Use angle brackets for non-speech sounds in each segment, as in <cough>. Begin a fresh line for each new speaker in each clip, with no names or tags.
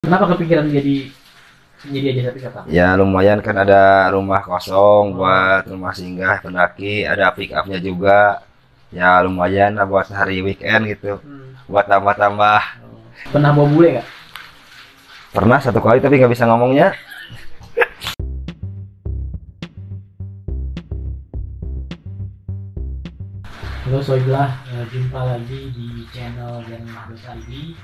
Kenapa kepikiran jadi menjadi agen pariwisata?
Ya lumayan kan ada rumah kosong buat rumah singgah pendaki, ada pick upnya juga. Ya lumayan lah buat hari weekend gitu,
Hmm.
buat tambah-tambah.
Pernah bawa bule nggak?
Pernah satu kali tapi nggak bisa ngomongnya.
Halo Soiblah, Eh, jumpa lagi di channel Jalan Lahdut ID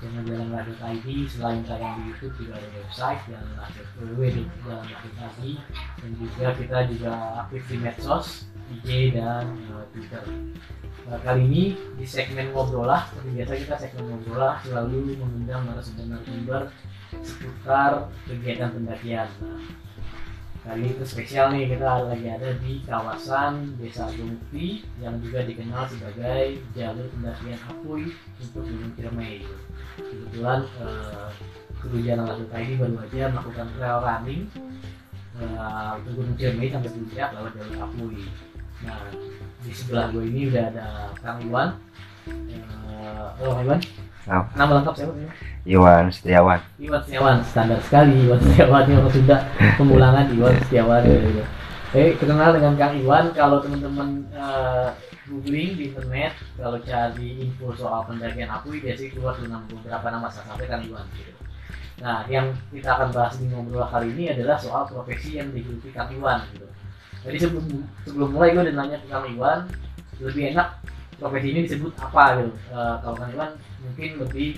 Channel Jalan Lahdut ID selain tayang di Youtube juga ada website Jalan Lahdut www Jalan Lahdut ID Dan juga kita juga aktif di medsos, IG dan eh, Twitter Nah, Kali ini di segmen Ngobrol lah, seperti biasa kita segmen Ngobrol lah selalu mengundang narasumber narasumber seputar kegiatan pendakian Nah, Kali Nah, ini itu spesial nih kita lagi ada di kawasan Desa Lumpi yang juga dikenal sebagai jalur pendakian Apuy untuk Gunung Ciremai. Kebetulan eh, kru jalan lanjut ini baru aja melakukan trail running eh, untuk Gunung Ciremai sampai puncak lewat jalur Apuy. Nah di sebelah gue ini udah ada Kang Iwan. Eh, halo Kang Iwan.
Halo.
Nama lengkap siapa? Kang Iwan?
Iwan Setiawan.
Iwan Setiawan standar sekali Iwan Setiawan yang orang Sunda pemulangan Iwan Setiawan gitu. gitu. Eh kenal dengan Kang Iwan kalau teman-teman eh, googling di internet kalau cari info soal pendakian Apuy biasanya keluar dengan beberapa nama salah satunya Kang Iwan gitu. Nah yang kita akan bahas di ngobrol kali ini adalah soal profesi yang digeluti Kang Iwan gitu. Jadi sebelum sebelum mulai gue udah nanya ke Kang Iwan lebih enak profesi ini disebut apa gitu. Eh, kalau Kang Iwan mungkin lebih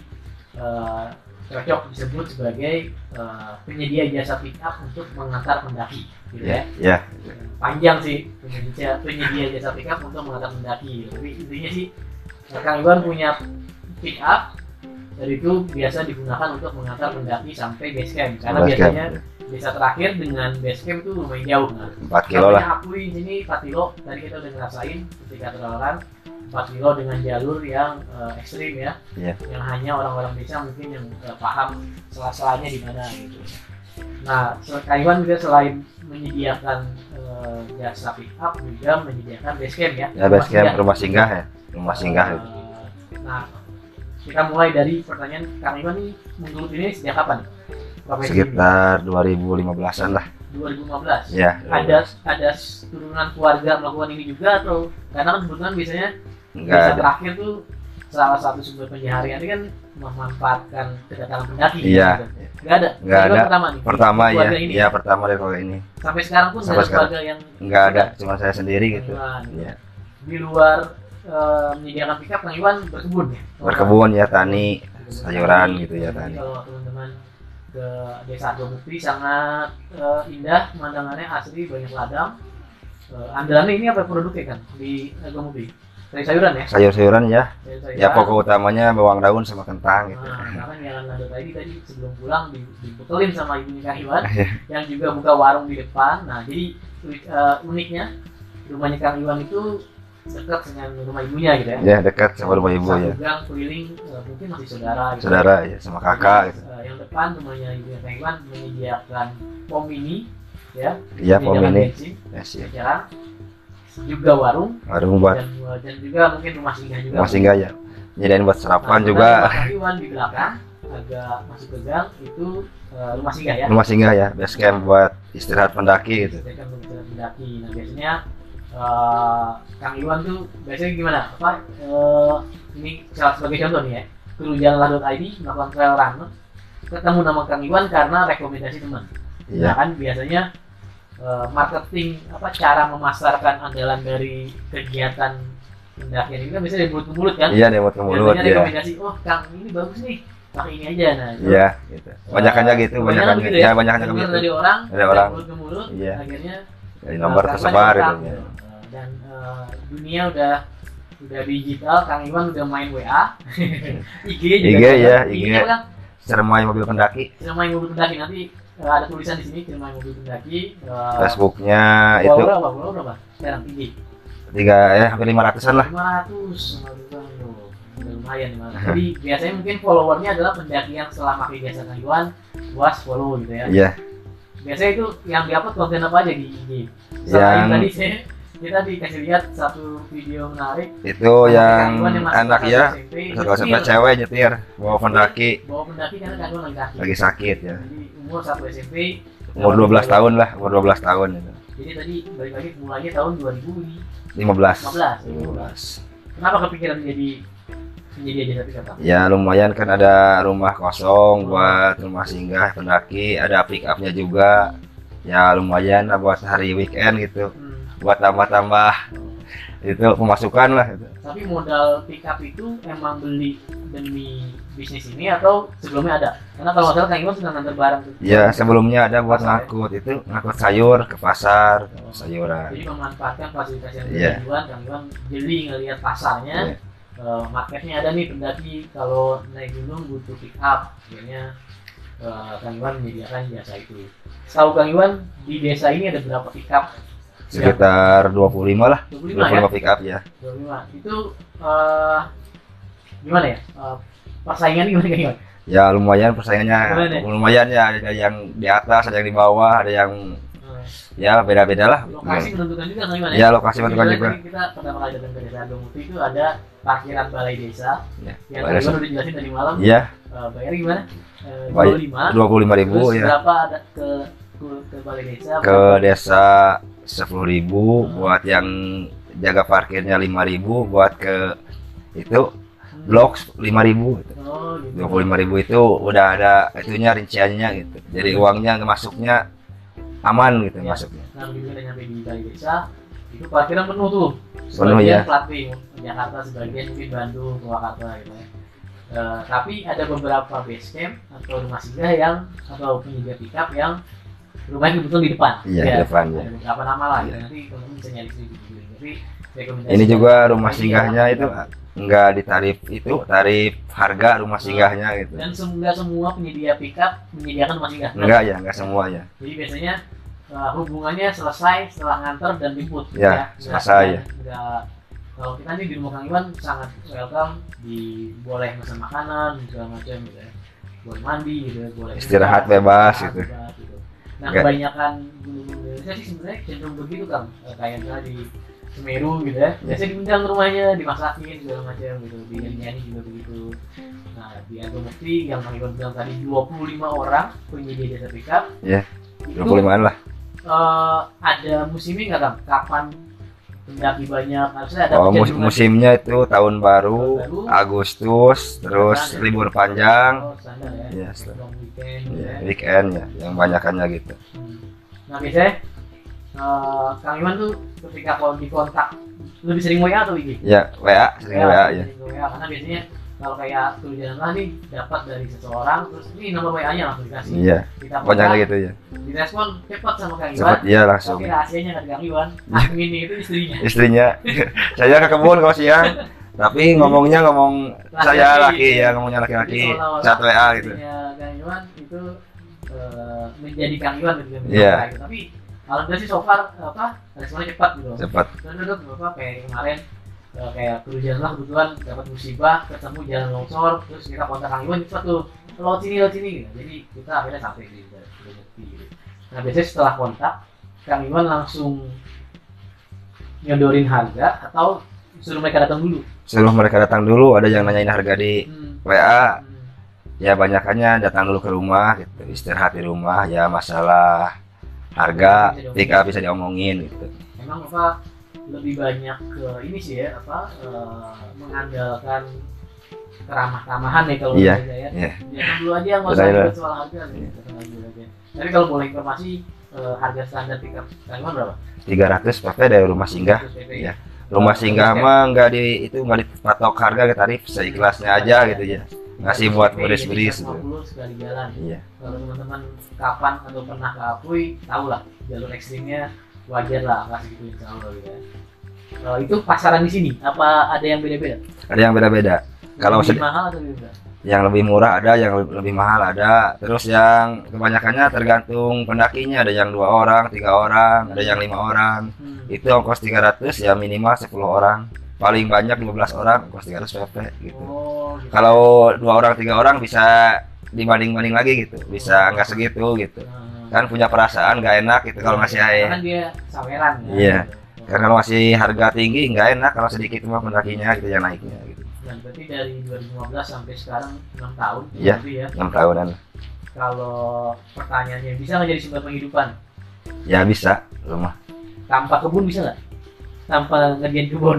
eh, cocok disebut sebagai eh, penyedia jasa pick up untuk mengantar pendaki gitu
Ya,
ya
ya.
panjang sih penyedia, penyedia jasa pick up untuk mengantar pendaki gitu. tapi intinya sih Kang Iwan punya pick up dan itu biasa digunakan untuk mengantar pendaki sampai base camp karena
Basecamp.
biasanya desa terakhir dengan base camp itu lumayan jauh kan
Empat kilo
Kilo
lah.
Akui ini 4 kilo tadi kita udah ngerasain ketika teroran 4 kilo dengan jalur yang eh, ekstrim ya,
Iya.
yang hanya orang-orang desa mungkin yang eh, paham salah-salahnya di mana gitu. Nah, se- Taiwan juga selain menyediakan eh, jasa pick up juga menyediakan base camp ya.
Ya basecamp
Rumah
rumah singgah ya. Rumah singgah.
Eh, Nah, kita mulai dari pertanyaan Kang Iwan nih menurut ini sejak kapan? Profesi ini?
Sekitar 2015-an lah.
2015
Ya.
ada ada turunan keluarga melakukan ini juga atau karena kan kebetulan biasanya
Enggak
desa
ada.
terakhir tuh salah satu sumber pencaharian ini kan memanfaatkan kedatangan pendaki
Iya.
gitu. nggak ada
Nggak
Jadi
ada.
kan pertama nih
Pertama ya.
keluarga ini.
Iya, pertama dari keluarga ini.
sampai sekarang pun nggak
Sampai
ada keluarga yang
Enggak ada, cuma saya sendiri gitu.
Kang Iwan.
Iya.
di luar eh, menyediakan pickup Kang Iwan berkebun ya
Berkebun ya tani, sayuran gitu ya,
Jadi
tani.
kalau teman-teman ke desa Agomukti sangat eh, indah pemandangannya asri banyak ladang Eh, andalannya ini apa produknya kan di Agomukti dari sayuran ya
sayur-sayuran ya.
dari sayuran
Ya pokok utamanya bawang daun sama kentang gitu.
Nah, karena jalan lanjut lagi tadi sebelum pulang di- diputelin sama ibu nikah Iwan
Iya.
yang juga buka warung di depan. Nah, jadi eh, uniknya rumahnya Kang Iwan itu dekat dengan rumah ibunya gitu ya.
Ya dekat sama rumah ibu
Satu
ya.
gang keliling eh, mungkin masih saudara gitu.
Saudara ya sama kakak gitu.
Eh, yang depan rumahnya ibunya Kang Iwan menyediakan pom mini ya.
Iya pom
menyediakan
ini.
bensin,
Ya sih.
jalan juga warung
Warung buat
dan, eh, dan juga mungkin rumah singgah juga.
rumah singgah ya. Nyediain buat
Nah,
sarapan
karena
juga.
rumah Iwan di belakang agak masuk ke gang itu eh, rumah singgah ya.
Rumah singgah ya, base camp buat istirahat pendaki gitu.
Sedangkan kebetulan pendaki. kan Nah biasanya eh, Kang Iwan tuh biasanya gimana? Apa eh, ini salah sebagai contoh nih ya. Kru jalan ID melakukan trail run ketemu nama Kang Iwan karena rekomendasi teman. Nah
Iya.
kan biasanya eh, marketing apa cara memasarkan andalan dari kegiatan pendakian ini kan biasanya dari mulut ke mulut kan?
Iya dia buat ke mulut
biasanya
ya.
rekomendasi oh kang ini bagus nih pakai ini aja nah itu
Iya gitu. Banyakannya gitu,
Kebanyakan
banyakannya.
gitu ya?
Ya banyakannya
dengar
gitu.
dari orang
Dari orang.
mulut ke mulut
Iya.
akhirnya
Dari
eh,
nomor
Kang Iwan
tersebar
datang,
gitu. ya.
gitu. Eh, dan eh, dunia udah udah digital kang Iwan udah main WA <laughs> IG juga
IG ya,
IG
IG.
-nya kan
Cermai mobil pendaki,
cermai mobil pendaki nanti eh, ada tulisan di sini cermai mobil pendaki eh,
Facebooknya itu
follower apa follower berapa sekarang IG
tiga ya hampir lima ratusan lah.
500 Bang. Loh, udah lumayan Bang. Jadi biasanya mungkin followernya adalah pendakian setelah pakai jasa Kang Iwan, was follow gitu ya.
Iya.
Biasanya itu yang diupload konten apa aja di IG? Selain
Yang
tadi saya kita dikasih lihat satu video menarik
itu
Anak
Oh, yang
gangguan masih
anak
kelas
ya
SMP,
satu SMP
nyetir.
cewek nyetir bawa pendaki
bawa pendaki karena kandungan laki
lagi sakit ya
jadi umur satu SMP
umur 12 tahun lah umur 12 tahun itu
jadi tadi balik lagi mulainya tahun 2015
15 15
kenapa kepikiran menjadi menjadi aja tapi kata
ya lumayan kan ada rumah kosong buat rumah singgah pendaki ada pick upnya juga ya lumayan lah buat hari weekend gitu
hmm.
buat tambah-tambah itu pemasukan lah gitu.
tapi modal pick up itu emang beli demi bisnis ini atau sebelumnya ada karena kalau hotel kang Iwan sudah nganter barang tuh
ya sebelumnya ada buat
Pasar ya?
ngangkut itu ngangkut sayur ke pasar sayuran
jadi memanfaatkan fasilitas yang
Iya.
dijual kang Iwan jeli ngelihat pasarnya
Iya.
Eh, marketnya ada nih pendaki kalau naik gunung butuh pick up akhirnya eh, Kang Iwan menyediakan jasa itu setahu Kang Iwan di desa ini ada berapa pick up Siap.
sekitar 25 lah
25 ya
25 pick up ya
25 itu eh, gimana ya Eh, persaingan gimana Kang Iwan
ya lumayan persaingannya
Lumayan ya?
lumayan ya ada yang di atas ada yang di bawah ada yang
Eh,
ya beda-beda lah
lokasi menentukan juga Kang Iwan ya
ya lokasi menentukan
Kebetulan
juga
tadi kita pertama kali datang ke desa Domuti itu ada parkiran balai desa
Ya,
yang Kang Iwan
balai desa. iya.
udah jelasin tadi malam
ya
Eh, bayarnya gimana Eh,
Bayar
25
25.000
terus
ya
berapa ada ke ke, ke balai desa
ke desa 10.000 buat yang jaga parkirnya 5.000 buat ke itu
Hmm.
blok 5.000
Oh, gitu.
25.000 itu udah ada itunya rinciannya gitu. Jadi uangnya masuknya aman gitu
Ya.
masuknya.
Nah, begitu kita nyampe di Balai Desa, itu parkiran penuh tuh.
Penuh
Sebagian
ya.
Plating, Jakarta, sebagian mungkin Bandung, Purwakarta gitu ya. Eh, tapi ada beberapa base camp atau rumah singgah yang atau penyedia pickup yang rumahnya kebetulan di depan.
Iya,
Ya,
di depan ya.
Ada beberapa nama lah.
Iya.
ya Nanti teman-teman bisa nyari sendiri gitu. Tapi rekomendasi
Ini juga
dari-
rumah singgahnya itu enggak ditarif itu tarif harga rumah singgahnya gitu.
dan semoga semua penyedia pickup menyediakan rumah singgah.
Enggak ya, enggak semuanya.
Jadi biasanya uh, hubungannya selesai setelah nganter dan jemput.
Ya,
Nggak-
selesai, ya.
nggak- kalau kita nih di rumah Kang Iwan sangat welcome, di boleh pesan makanan segala macam gitu ya. Boleh mandi gitu ya, boleh
Istirahat
istirahat, istirahat
bebas, gitu.
bebas, gitu. Nah,
Nggak-
kebanyakan gunung-gunung di Indonesia sih sebenarnya cenderung begitu kan. Kayak misalnya di Semeru gitu ya.
Iya.
Biasanya diundang ke rumahnya, dimasakin segala macam gitu. Di Nyanyi juga begitu. Nah, di Argo Mukti yang Kang Iwan bilang tadi 25 orang penyedia jasa pickup.
Iya,
Itu
25 lah.
eh, ada musimnya nggak Kang? Kapan pendaki banyak? Harusnya ada
Oh, mus-
kecenderungan
musimnya itu tahun baru,
Tahun baru.
Agustus, terus
Standar.
libur panjang,
Oh, standar ya.
Iya, standar.
Long weekend gitu
ya,
ya.
weekend ya, yang banyakannya gitu.
Hmm. Nah, biasanya eh, Kang Iwan tuh ketika kalau dikontak lebih sering WA atau IG?
Ya, WA, sering WA ya.
sering WA Iya, karena biasanya kalau kayak tulisan lah nih dapat dari seseorang terus ini nomor WA-nya langsung dikasih.
Iya,
Kita
banyaknya
kontak,
gitu ya.
direspon cepat sama Kang Iwan.
Cepat iya langsung. Iya.
Tapi rahasianya nggak ada Kang Iwan. Adminnya itu istrinya.
istrinya saya ke kebun kalau siang tapi ngomongnya ngomong
Laki-laki.
<laughs> saya laki ya ngomongnya
Jadi
laki-laki
seolah-olah
chat WA gitu
istrinya Kang Iwan itu eh, menjadi Kang Iwan gitu kan.
Iya.
Tapi alhamdulillah sih so far apa responnya cepat gitu.
cepat
Terus duduk apa kayak kemarin eh, kayak kerjaan lah kebetulan dapat musibah ketemu jalan longsor terus kita kontak Kang Iwan cepat tuh lewat sini lewat sini gitu. Jadi kita akhirnya sampai di Bekti gitu. Nah biasanya setelah kontak Kang Iwan langsung nyodorin harga atau suruh mereka datang dulu.
suruh mereka datang dulu ada yang nanyain harga di
Hmm.
WA
Hmm.
ya banyakannya datang dulu ke rumah gitu istirahat di rumah ya masalah harga jika bisa diomongin gitu
Emang apa lebih banyak ke ini sih ya apa eh, mengandalkan keramah-tamahan ya kalau
Iya,
menurut saya ya.
iya.
Jangan dulu aja nggak usah
Betul,
ribet soal harga.
Iya.
gitu. Tenang dulu aja. Tapi kalau boleh informasi eh, harga standar pickup Taiwan berapa?
300 PP dari rumah singgah
Terus PP.
iya. rumah singgah mah nggak di itu nggak dipatok harga ke tarif seikhlasnya aja gitu ya ngasih
Terus
buat gitu.
PP
beris-beris
Iya, jadi 150 sekali jalan.
iya
Kalau teman-teman kapan atau pernah ke Apui, tahu lah jalur ekstrimnya wajar lah kasih gitu insya Allah gitu ya. Eh, itu pasaran di sini apa ada yang beda-beda?
ada yang beda-beda Kalau
Lebih
sedi-
mahal atau lebih murah?
yang lebih murah ada yang le- lebih mahal ada terus yang kebanyakannya tergantung pendakinya ada yang dua orang tiga orang ada yang lima orang
Hmm.
itu ongkos 300 ya minimal 10 orang paling banyak 12 orang ongkos 300 pp gitu
Oh, gitu.
kalau dua orang tiga orang bisa dibanding-banding lagi gitu bisa nggak segitu gitu
Hmm.
kan punya perasaan nggak enak gitu kalau ngasih air
Karena dia saweran.
Iya.
Gitu.
karena kalau masih harga tinggi nggak enak kalau sedikit mah pendakinya gitu yang naiknya gitu
Dan Nah, berarti dari 2015 sampai sekarang 6 tahun
Iya.
gitu ya.
enam tahunan
Kalau pertanyaannya bisa nggak jadi sumber penghidupan?
ya bisa rumah
Tanpa kebun bisa nggak? Tanpa ngerjain kebun.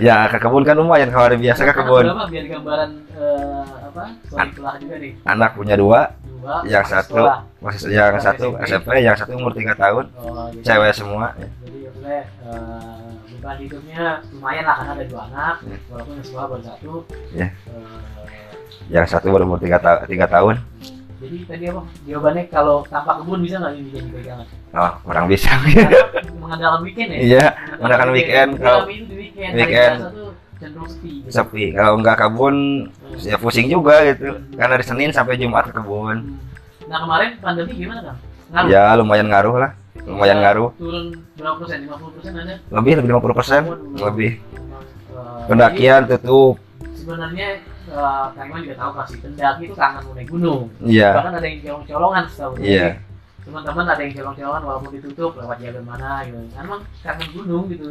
ya ke kebun kan lumayan kalau hari biasa
<laughs>
ke kebun
Berapa biar gambaran eh, apa? Soal kelah juga nih.
anak punya dua
Dua.
Yang
masih
Iya, satu.
sekolah.
masih yang satu SMP yang satu umur tiga tahun
Oh, jadi-
cewek semua ya.
Jadi maksudnya eh, beban hidupnya lumayan lah karena ada dua anak,
Hmm.
walaupun yang sekolah baru satu.
Iya.
Eh,
yang satu baru umur tiga, ta- tiga tahun
jadi tadi apa? Jawabannya kalau tanpa kebun bisa nggak ini jadi
<laughs>
pegangan?
oh kurang bisa <laughs>
Karena mengandalkan weekend ya.
iya mengandalkan weekend,
Kalau
kalau-
minggu di weekend,
weekend.
weekend. satu cenderung sepi. gitu.
sepi kalau nggak kebun
Hmm.
ya pusing juga gitu karena dari Senin sampai Jumat ke kebun
Hmm. Nah kemarin pandemi gimana kan? Ngaruh.
ya lumayan ngaruh lah Ya, lumayan ngaruh
Turun berapa persen? 50 persen ada?
lebih lebih 50 persen lebih ya.
Memang, eh,
pendakian tutup
jadi Sebenarnya eh, Kang Iman juga tahu pasti pendaki itu kangen mulai gunung.
iya
bahkan ada yang colong-colongan setahu gue.
Iya.
teman-teman ada yang colong-colongan walaupun ditutup lewat jalur mana gitu kan emang kangen gunung gitu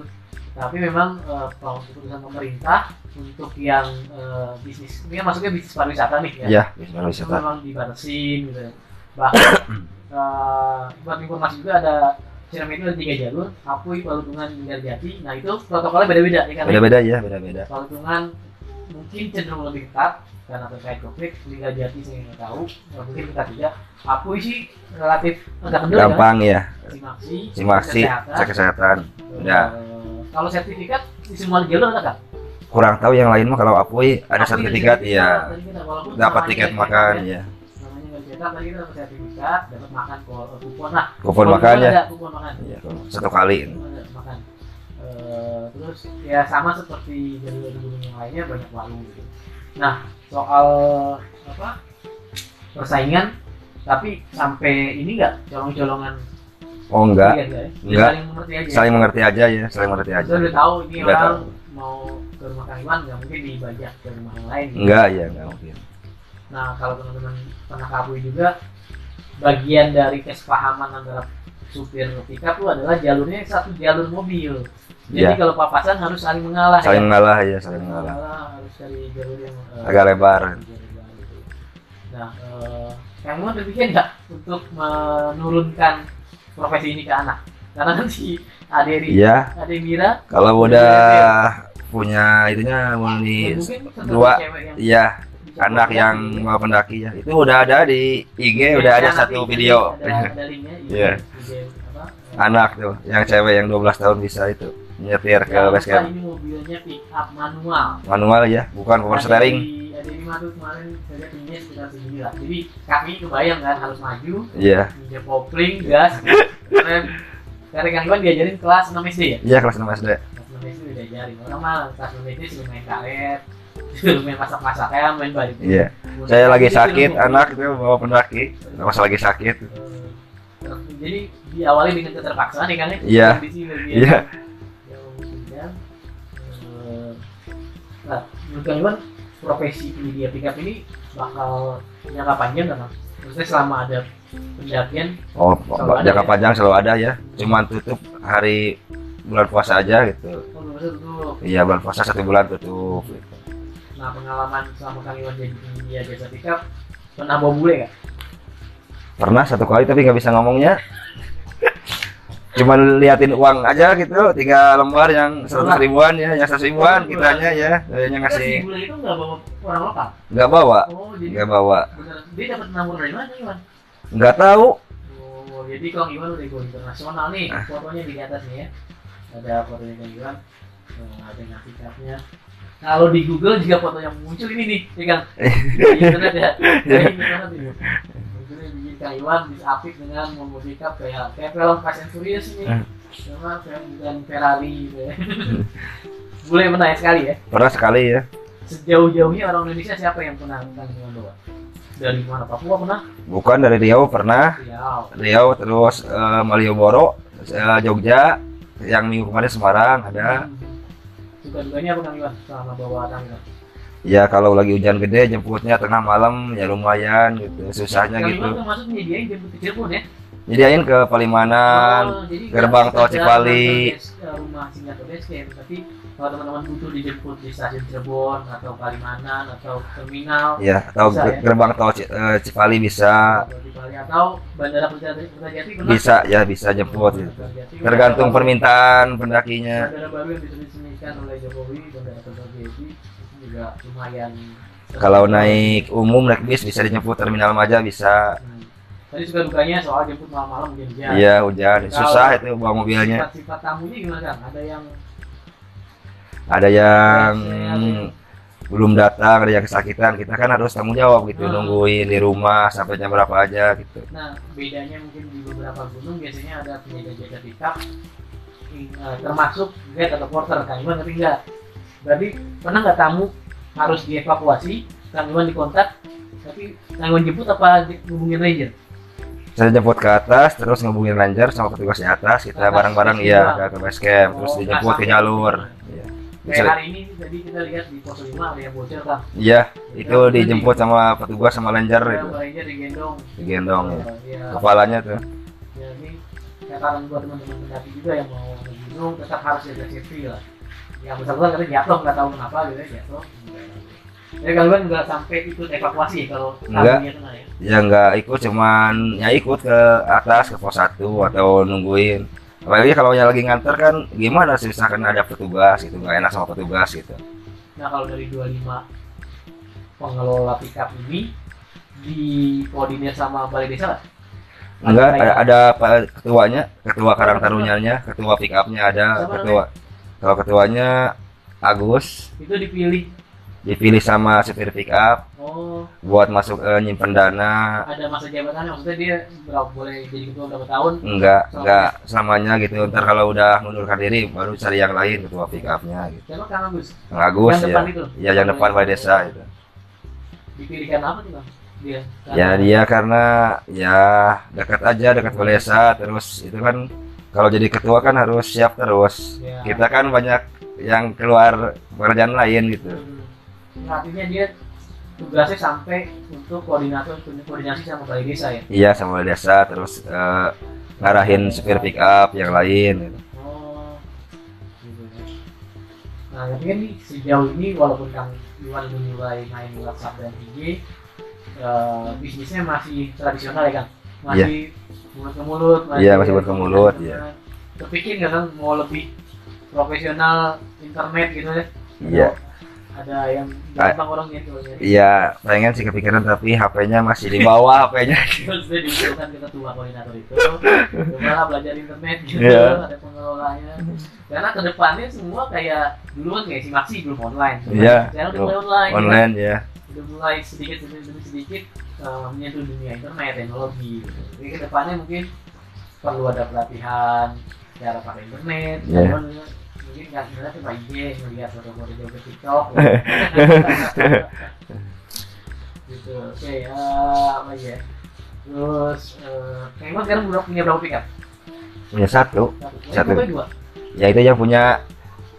tapi memang eh, kalau keputusan pemerintah untuk yang eh, bisnis ini kan masuknya bisnis pariwisata nih ya
iya bisa
itu
wisata
memang dibatasin gitu ya.
<coughs>
bahkan eh, buat informasi juga ada Cirebon itu ada tiga jalur Kapui, Palutungan, Linggar Jati nah itu protokolnya beda-beda ya kan
beda-beda ya beda-beda
Palutungan mungkin cenderung lebih ketat karena terkait konflik Liga Jati saya nggak tahu eh, mungkin kita tidak aku sih relatif agak kendor kan
gampang ya
simaksi
simasi
kesehatan.
cek Ya. kesehatan udah.
Eh, kalau sertifikat di semua jalur ada kan
kurang tahu yang lain mah kalau Apuy ada sertifikat ya dapat tiket makan ya
namanya nggak cetak tadi kita dapat sertifikat dapat makan ko- kupon lah
kupon
Kupon
makannya
ada, kupon makan
Iya, satu kali
Ada makan Eh, terus ya sama seperti jalur gunung yang lainnya banyak warung gitu nah soal apa persaingan tapi sampai ini enggak colong-colongan
oh enggak
Iya, enggak ya?
Enggak.
saling mengerti aja
saling mengerti aja ya saling mengerti aja
Maksudnya udah tahu ini
Udah
orang
tahu.
mau ke rumah Kang Iwan nggak mungkin dibajak ke rumah yang lain gitu.
enggak ya enggak mungkin
Nah, kalau teman-teman pernah kabui juga, bagian dari kesepahaman antara supir pickup itu adalah jalurnya satu jalur mobil. Jadi
Iya.
kalau papasan harus saling mengalah.
saling mengalah ya saling
Saling
mengalah
mengalah, harus cari jalur yang eh,
Agak lebar.
jalur yang lebar gitu. Nah, eh, kamu ada pikir nggak untuk menurunkan profesi ini ke anak? Karena kan si Aderi,
iya
Ade Mira,
kalau udah punya
ya
itunya mulai
mungkin sebagai
Iya. dua,
cewek yang
iya anak
bisa
yang
bergerak,
mau pendaki ya itu udah ada di IG
Iya,
udah ada satu video
Ada, ada linknya,
Iya.
video apa, eh,
anak tuh yang cewek yang 12 tahun bisa itu nyetir ke
Jangan
base
lupa
camp
Ini mobilnya pick up manual.
manual ya bukan power
Ada
steering
di- Ada lima tuh kemarin saya tinggi sekitar sembilan. Jadi kaki kebayang kan harus maju,
iya
ninja kopling, gas, keren. Dari Kang Iwan diajarin kelas 6 SD ya?
iya kelas 6 SD
Kelas 6 SD udah diajarin. Orang mah kelas 6 SD suruh main karet, suruh main masak-masak ya, main balik.
iya saya lagi sakit
iya.
anak itu bawa pendaki pas lagi sakit
Jadi diawali dengan keterpaksaan ya Kang ya?
Iya.
Kondisi lebih-
iya
yang bidang eh, nah menurut Kang Iwan profesi penyedia pickup ini bakal jangka panjang nggak Mas? Maksudnya selama ada pendakian
oh
Selalu ada
jangka
ya.
panjang selalu ada ya cuman tutup hari bulan puasa aja gitu
oh, belum tentu tuh.
iya bulan puasa satu bulan tutup gitu.
nah pengalaman selama Kang Iwan jadi penyedia jasa pickup pernah bawa bule nggak?
pernah satu kali tapi nggak bisa ngomongnya cuman liatin uang aja gitu tiga lembar yang seratus ribuan ya yang seratus ribuan kitanya ya
Kan
yang
si
ngasih
bule itu nggak bawa orang lokal
nggak bawa
oh jadi
nggak bawa
bener dia dapat nomor dari mana Iwan?
nggak tahu
Oh, jadi Kang Iwan udah go internasional nih, fotonya di atas nih ya. Ada fotonya Kang Iwan, eh, ada yang tiketnya. Kalau di Google juga foto yang muncul ini nih, ya Kang. Di internet ya. Di internet ini. Munculnya bikin Kang Iwan bisa aktif dengan memodifikasi kayak kayak film Fast and Furious ini.
Hmm.
Cuma kayak bukan Ferrari gitu ya. <laughs> Boleh menaik sekali ya.
pernah sekali ya
Sejauh-jauhnya orang Indonesia siapa yang pernah Kang Iwan bawa? Dari mana? Papua pernah?
bukan dari Riau pernah
Riau.
Riau terus eh, Malioboro eh, Jogja yang minggu kemarin Semarang ada
Suka dukanya Hmm. apa Kang Iwan selama bawa Kang Iwan?
ya kalau lagi hujan gede jemputnya tengah malam ya lumayan gitu susahnya
Kang Iwan
gitu
termasuk menyediain jemput ke Cirebon ya?
Jadi aing ke
Oh,
Palimanan.
jadi
gerbang
nggak-
tol
nggak
Cipali.
ke base- ke rumah singgah ke base camp, tapi kalau teman-teman butuh dijemput di stasiun Cirebon atau Palimanan atau terminal
Ya, atau
Bisa, ya?
gerbang tol Ci- eh, Cipali bisa
atau di Bali atau bandara Kertajati Kertajati pernah?
bisa ya bisa jemput gitu.
Kertajati,
Tergantung
bandara-
permintaan pendakinya.
bandara baru yang diresmikan oleh Jokowi bandara Kertajati itu juga lumayan
Kalau naik umum naik bis bisa dijemput terminal Maja bisa.
Hmm. tadi suka dukanya soal jemput malam-malam mungkin ya
Iya, hujan. Susah itu bawa mobilnya.
sifat-sifat tamunya gimana kan ada yang
Ada yang belum datang, ada yang kesakitan. Kita kan harus tanggung jawab gitu,
Hmm.
nungguin di rumah sampai jam berapa aja gitu.
Nah, bedanya mungkin di beberapa gunung biasanya ada penjaga-jaga pickup i- eh, termasuk guide atau porter Kang Iwan tapi enggak. Berarti pernah nggak tamu harus dievakuasi, Kang Iwan dikontak, tapi Kang Iwan jemput apa di- hubungin ranger?
Saya jemput ke atas, terus ngubungin ranger sama petugas di atas. Kita
Atas,
bareng-bareng
terus
ya
pulang.
ke, ke base camp, terus
Oh,
dijemput ke
pasang.
jalur. Iya.
Kayak hari ini tadi kita lihat di pos 5 ada yang bocor Kang.
Iya, itu dijemput sama petugas sama ranger
Ada
itu,
yang ranger digendong.
digendong ya.
Iya.
Kepalanya tuh.
Ya, ini ya karena buat teman-teman pendaki juga yang mau ke gunung tetap harus ya, jaga safety lah yang bersangkutan katanya jatuh nggak tahu kenapa gitu ya jatuh jadi kalian nggak sampai ikut evakuasi ya kalau
Nggak.
tamunya kena ya
Ya nggak ikut, cuman ya ikut ke atas ke pos 1 atau nungguin. Apalagi kalau yang lagi nganter kan gimana sih misalkan ada petugas gitu, nggak enak sama petugas gitu.
nah kalau dari 25 pengelola pickup ini di koordinir sama balai desa lah
Enggak, ada, ada apa- ketuanya, ketua Karang Tarunyannya, ketua pick up-nya ada,
Siapa
ketua. Kalau ketuanya Agus
itu dipilih
dipilih sama supir pick up
oh
buat masuk eh, nyimpen dana.
ada masa jabatannya maksudnya dia berapa boleh jadi ketua berapa tahun
Enggak, enggak selamanya gitu. Ntar kalau udah mundurkan diri baru cari yang lain ketua pick up-nya gitu.
siapa kang Agus
Yang Agus
yang
ya.
depan itu
Ya yang depan balai desa gitu.
dipilihkan apa sih bang dia
Ya dia karena ya dekat aja dekat Balesa terus itu kan kalau jadi ketua kan harus siap terus.
Ya.
Kita kan banyak yang keluar pekerjaan lain gitu.
Hmm. Artinya dia tugasnya sampai untuk koordinator koordinasi sama balai desa ya.
Iya sama Balai Desa terus eh, ngarahin supir pick up yang lain. Gitu.
Oh. Gitu ya. Nah, tapi kan nih, sejauh ini walaupun Kang Iwan menilai main WhatsApp dan IG, eh, bisnisnya masih tradisional ya Kang? Masih mulut ke mulut.
Iya, masih mulut ke mulut, iya.
Terpikir nggak Kang mau lebih profesional internet gitu ya?
Iya
Ada yang gampang orang gitu. ya.
iya pengen sih kepikiran tapi HP-nya masih di bawah HP-nya.
terus dia diusulkan ke ketua koordinator itu cobalah belajar internet gitu
Iya.
ada pengelolanya karena kedepannya semua kayak dulu kan kayak si Maxi belum online
Iya.
sekarang udah mulai online
Online ya.
udah mulai sedikit demi sedikit, sedikit eh, menyentuh dunia internet teknologi gitu. jadi kedepannya mungkin perlu ada pelatihan cara pakai internet
Iya.
cuman mungkin nggak sebenarnya cuma IG melihat foto-foto jauh ke
<laughs>
TikTok gitu oke eh apa ya terus eh kayaknya sekarang udah punya berapa pickup
Punya satu.
satu
Satu.
Eh, dua
Ya itu yang punya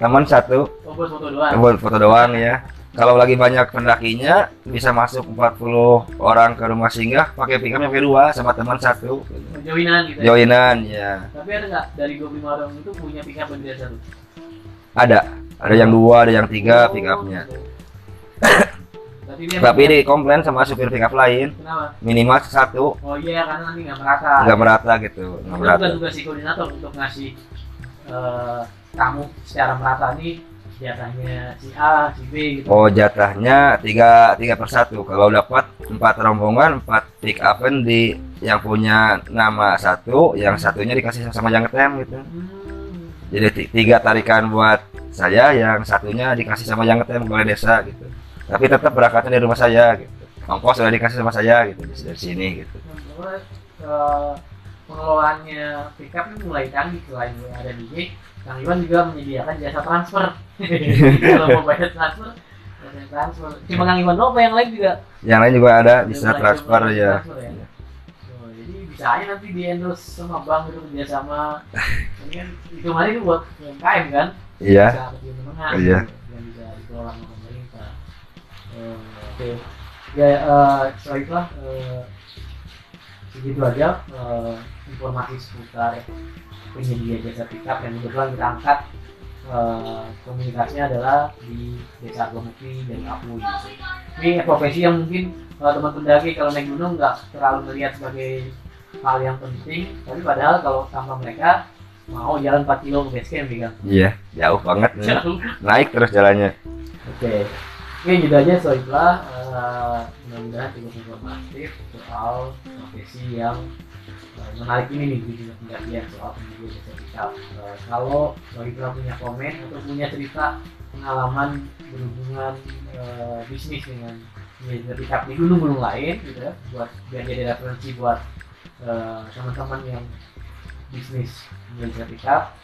teman satu
oh buat foto doang
buat foto doang ya kalau lagi banyak pendakinya bisa masuk 40 orang ke rumah singgah pakai pick up yang kedua sama teman satu
joinan gitu ya.
joinan ya
tapi ada nggak dari 25 orang itu punya pickup bendera satu
ada ada yang dua ada yang tiga pick upnya
tapi dia
tapi ini komplain sama supir pick up lain
kenapa
minimal satu
Oh iya, karena nanti nggak merata.
nggak merata gitu
Itu
nggak merata
bukan tugas si koordinator untuk ngasih eh, tamu secara merata nih jatahnya si A, si B gitu.
oh jatahnya tiga tiga per satu kalau dapat empat rombongan empat pick upan di yang punya nama satu yang satunya dikasih sama yang ngetem gitu
Hmm.
jadi ti- tiga tarikan buat saya yang satunya dikasih sama yang ngetem boleh desa gitu tapi tetap berangkatnya dari rumah saya gitu ongkos sudah dikasih sama saya gitu dari dari sini gitu
Terus eh, pengelolaannya pickup ini mulai canggih selain ada DJ, Kang Iwan juga menyediakan jasa transfer. <laughs> Kalau mau bayar transfer, ada transfer. Cuma Kang Iwan doang, apa yang lain juga
yang lain juga ada
Ada
bisa
mulai-
transfer
mulai
ya
transfer ya. Oh, jadi bisa aja nanti di endorse sama bank gitu kerjasama.
<laughs>
Ini kan itu mana itu buat UMKM kan?
iya
Bisa kecil menengah.
Iya.
gitu, Yang bisa dikelola sama pemerintah. Eh, Oke. Ya, eh, setelah itulah eh, segitu aja eh, informasi seputar penyedia jasa pickup yang kebetulan kita angkat eh, komunikasinya adalah di desa Gomukti dan Kapui. Ini profesi yang mungkin eh, teman pendaki kalau naik gunung nggak terlalu melihat sebagai hal yang penting, tapi padahal kalau tanpa mereka mau jalan 4 kilo ke base camp ya kan?
Iya, jauh banget. nih.
Jauh.
Naik terus jalannya.
Oke. Oke, gitu aja soalnya eh mudah-mudahan cukup informatif soal profesi yang eh, menarik ini nih di dunia pendakian soal pendidikan jasa pickup. Eh, kalau Soifla punya komen atau punya cerita pengalaman berhubungan eh, bisnis dengan penyedia pickup di gunung-gunung lain gitu ya, buat biar jadi referensi buat eh, teman-teman yang bisnis penyedia pickup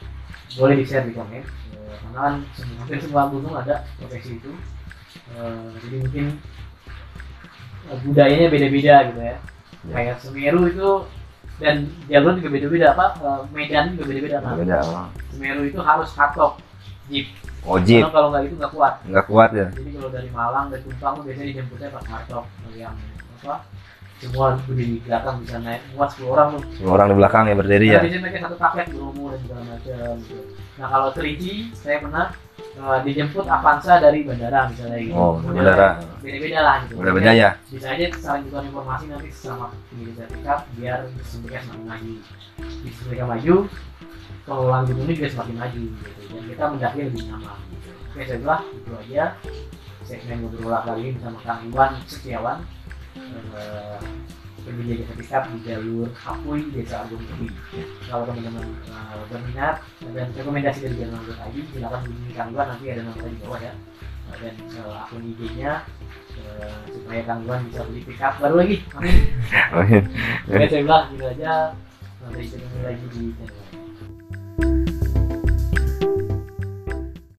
boleh di share di komen Eh, karena kan semua- hampir semua gunung ada profesi itu Eh, jadi mungkin eh, budayanya beda-beda gitu ya
Ya.
kayak Semeru itu dan jalur juga beda-beda apa eh, Medan juga beda-beda kan
Beda. Bang.
Semeru itu harus katok jeep
Ojib
karena kalau nggak itu nggak kuat
nggak kuat ya.
jadi kalau dari Malang ke Tumpang tuh biasanya dijemputnya pas katok yang apa semua berdiri di belakang bisa naik muat 10 orang tuh
Semua orang di belakang ya berdiri ya.
Nah, biasanya mereka satu paket Bromo dan segala macam gitu. Nah kalau 3G saya pernah eh, dijemput Avanza dari bandara misalnya gitu.
Oh,
Modelnya
bandara.
Beda-beda lah gitu.
Udah beda ya. <laughs>
Bisa aja saling tukar informasi nanti sama penyedia sertifikat biar bisnis mereka semakin maju. Bisnis mereka maju, pengelolaan gedungnya juga semakin maju gitu. Dan kita mendaki lebih nyaman gitu. Oke, saya bilang itu aja segmen ngobrol kali ini bersama Kang Iwan Setiawan eh, penyedia sertifikat di jalur Hapui Desa Agung Tui kalau teman-teman eh, berminat dan rekomendasi dari Jalan Anggur ID silakan hubungi Kang Iwan nanti ada nomornya di bawah ya Eh, dan eh, akun IG-nya eh, supaya Kang Iwan bisa beli pick up baru lagi. Amin. Oke, saya bilang gitu aja. Sampai ketemu lagi di channel. lain.